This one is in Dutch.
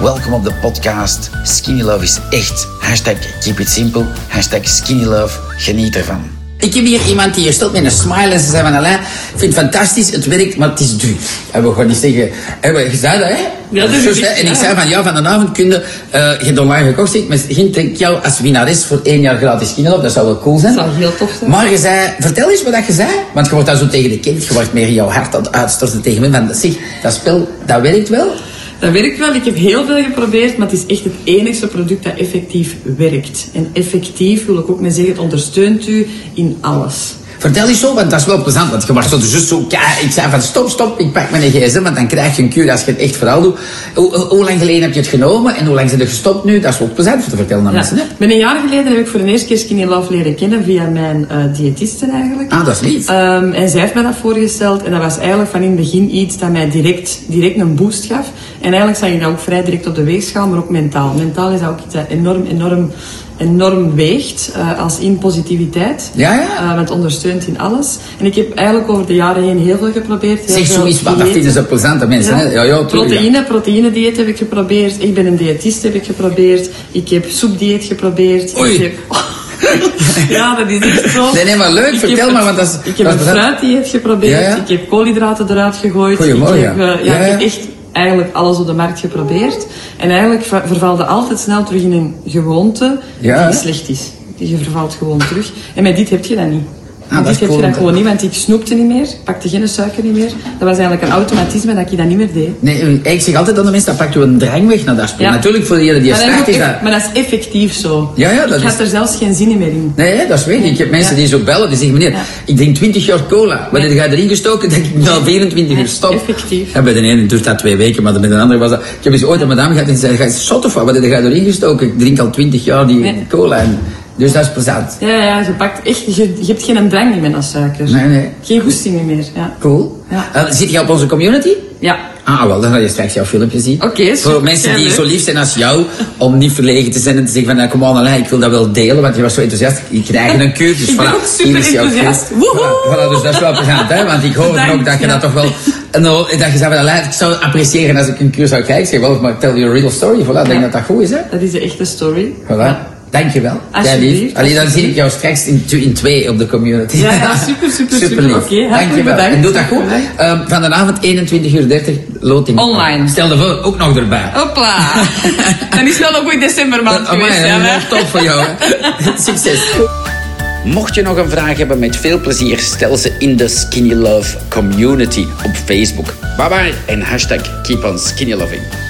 Welkom op de podcast. Skinny Love is echt. Hashtag keep it simple. Hashtag skinny love. Geniet ervan. Ik heb hier iemand die hier stond met een smile en ze zei van Alain, ik vind het fantastisch, het werkt, maar het is duur. En we gaan niet zeggen, hebben je zei dat hè? Ja, dat is Zo zei- juist, En ik ja. zei van ja, vanavond kun je, eh, je hebt online gekocht, zeg ik, misschien trek ik jou als winnares voor één jaar gratis skinnerloop, dat zou wel cool zijn. Dat zou heel tof zijn. Maar je zei, vertel eens wat dat je zei, want je wordt dan zo tegen de kind, je wordt meer in jouw hart aan het uitstorten tegen me, van zeg, dat spel, dat werkt wel. Dat werkt wel. Ik heb heel veel geprobeerd, maar het is echt het enigste product dat effectief werkt. En effectief wil ik ook mee zeggen, het ondersteunt u in alles. Vertel eens zo, want dat is wel plezant. Want je was zo, dus zo kei- Ik zei van stop, stop, ik pak mijn gsm, want dan krijg je een cure als je het echt verhaal doet. Hoe, hoe- hoe lang geleden heb je het genomen en hoe lang zijn er gestopt nu? Dat is wel plezant om te vertellen aan Ja. mensen. Hè? Met een jaar geleden heb Dus ik voor de eerste keer Skinny Love leren kennen via mijn eh diëtiste eigenlijk. Ah, dat is lief. Ehm, en zij heeft mij dat voorgesteld en dat was eigenlijk van in het begin iets dat mij direct, direct een boost gaf. En eigenlijk zag je dat ook vrij direct op de weegschaal, maar ook mentaal. Mentaal is dat ook iets dat enorm, enorm, enorm weegt eh, als in positiviteit. Ja, ja. Eh, want het ondersteunt in alles. En ik heb eigenlijk over de jaren heen heel veel geprobeerd. heel zeg veel zoiets, wat dat diëten. vinden ze plezant aan mensen. hè? Ja, ja, tuurlijk, ja. proteïne, proteïne dieet heb ik geprobeerd. Ik ben een diëtist heb ik geprobeerd. Ik heb soepdieet geprobeerd. Oei. Ik heb... ja, dat is echt zo. Nee, nee, maar leuk, Ik heb vertel maar, want het- dat is- Ik heb dat een is bezat. fruitdieet geprobeerd. Ja, ja. Ik heb koolhydraten eruit gegooid. Goeiemorgen, Ik heb, eh, ja. Ja, ja, ik heb ja. echt eigenlijk alles op de markt geprobeerd. En eigenlijk va- vervalde altijd snel terug in een gewoonte Ja, hè? die slecht is. Je vervalt gewoon terug. En met dit heb je dat niet. Ah, Met dat is dit heb cool, je dat hè? gewoon niet, want ik snoepte niet meer, pakte geen suiker niet meer. Dat was eigenlijk een automatisme dat ik dat niet meer deed. Nee, ik zeg altijd aan de mensen, dat pakt je een drang weg naar dat spel. Ja. Natuurlijk voor degene die Maar dat, is start is ook dat... eff- maar dat is effectief zo. Ja, ja, dat ik is- had er zelfs geen zin in meer in. Nee, hè, dat is weet ik. Ik heb mensen Ja. die zo bellen, die zeggen, meneer, Ja. ik drink 20 jaar cola. Wat heb jij erin gestoken? Dat ik na 24 uur stop. effectief. Ja, bij de ene duurt dat twee weken, maar met de andere was dat... Ik heb eens ooit aan mijn dame gehad en zei, ga je zot of wat? Wat heb jij erin gestoken? Ik drink al 20 jaar die Nee. cola. En, dus dat is plezant. Ja, ja, je pakt echt, je, je hebt geen drang meer naar suiker. Nee, nee. Geen goesting meer, ja. Cool. Ja. Eh, zit je op onze community? Ja, Ah, wel, dan ga je straks jouw filmpje zien. Oké, super, Voor mensen die leuk. zo lief zijn als jou, om niet verlegen te zijn en te zeggen van, nou, kom aan, Alain, ik wil dat wel delen, want je was zo enthousiast. Je krijgt een keur, dus Ik ben voilà, ook super hier is jouw enthousiast. keur. Woehoe! Voilà, voilà, dus dat is wel plezant, hè, want ik hoor Bedankt, ook dat je ja. dat toch wel... En dan- dat je zei van, Alain, ik zou appreciëren als ik een keur zou krijgen. Ik zeg wel, maar tell your real story, voilà, ik denk Ja. dat dat goed is, hè. dat is de echte story. Voilà. Dankjewel. Jij Alsjeblieft, lief. Allee, dan zie ik jou straks in, tw- in twee op de community. Ja, ja, super, super, super. lief. Oké, hartelijk Dankjewel. bedankt. En doe dat goed. Bedankt. Ehm, vanavond 21 uur 30 loting. Online. Oh, Stel ervoor, ook nog erbij. Hopla! Dan is wel een goede decembermaand Amai, geweest, dat ja. is hè? wel top voor jou. hè. Succes. Mocht je nog een vraag hebben, met veel plezier stel ze in de Skinny Love community op Facebook. Bye bye en hashtag keep on skinny loving.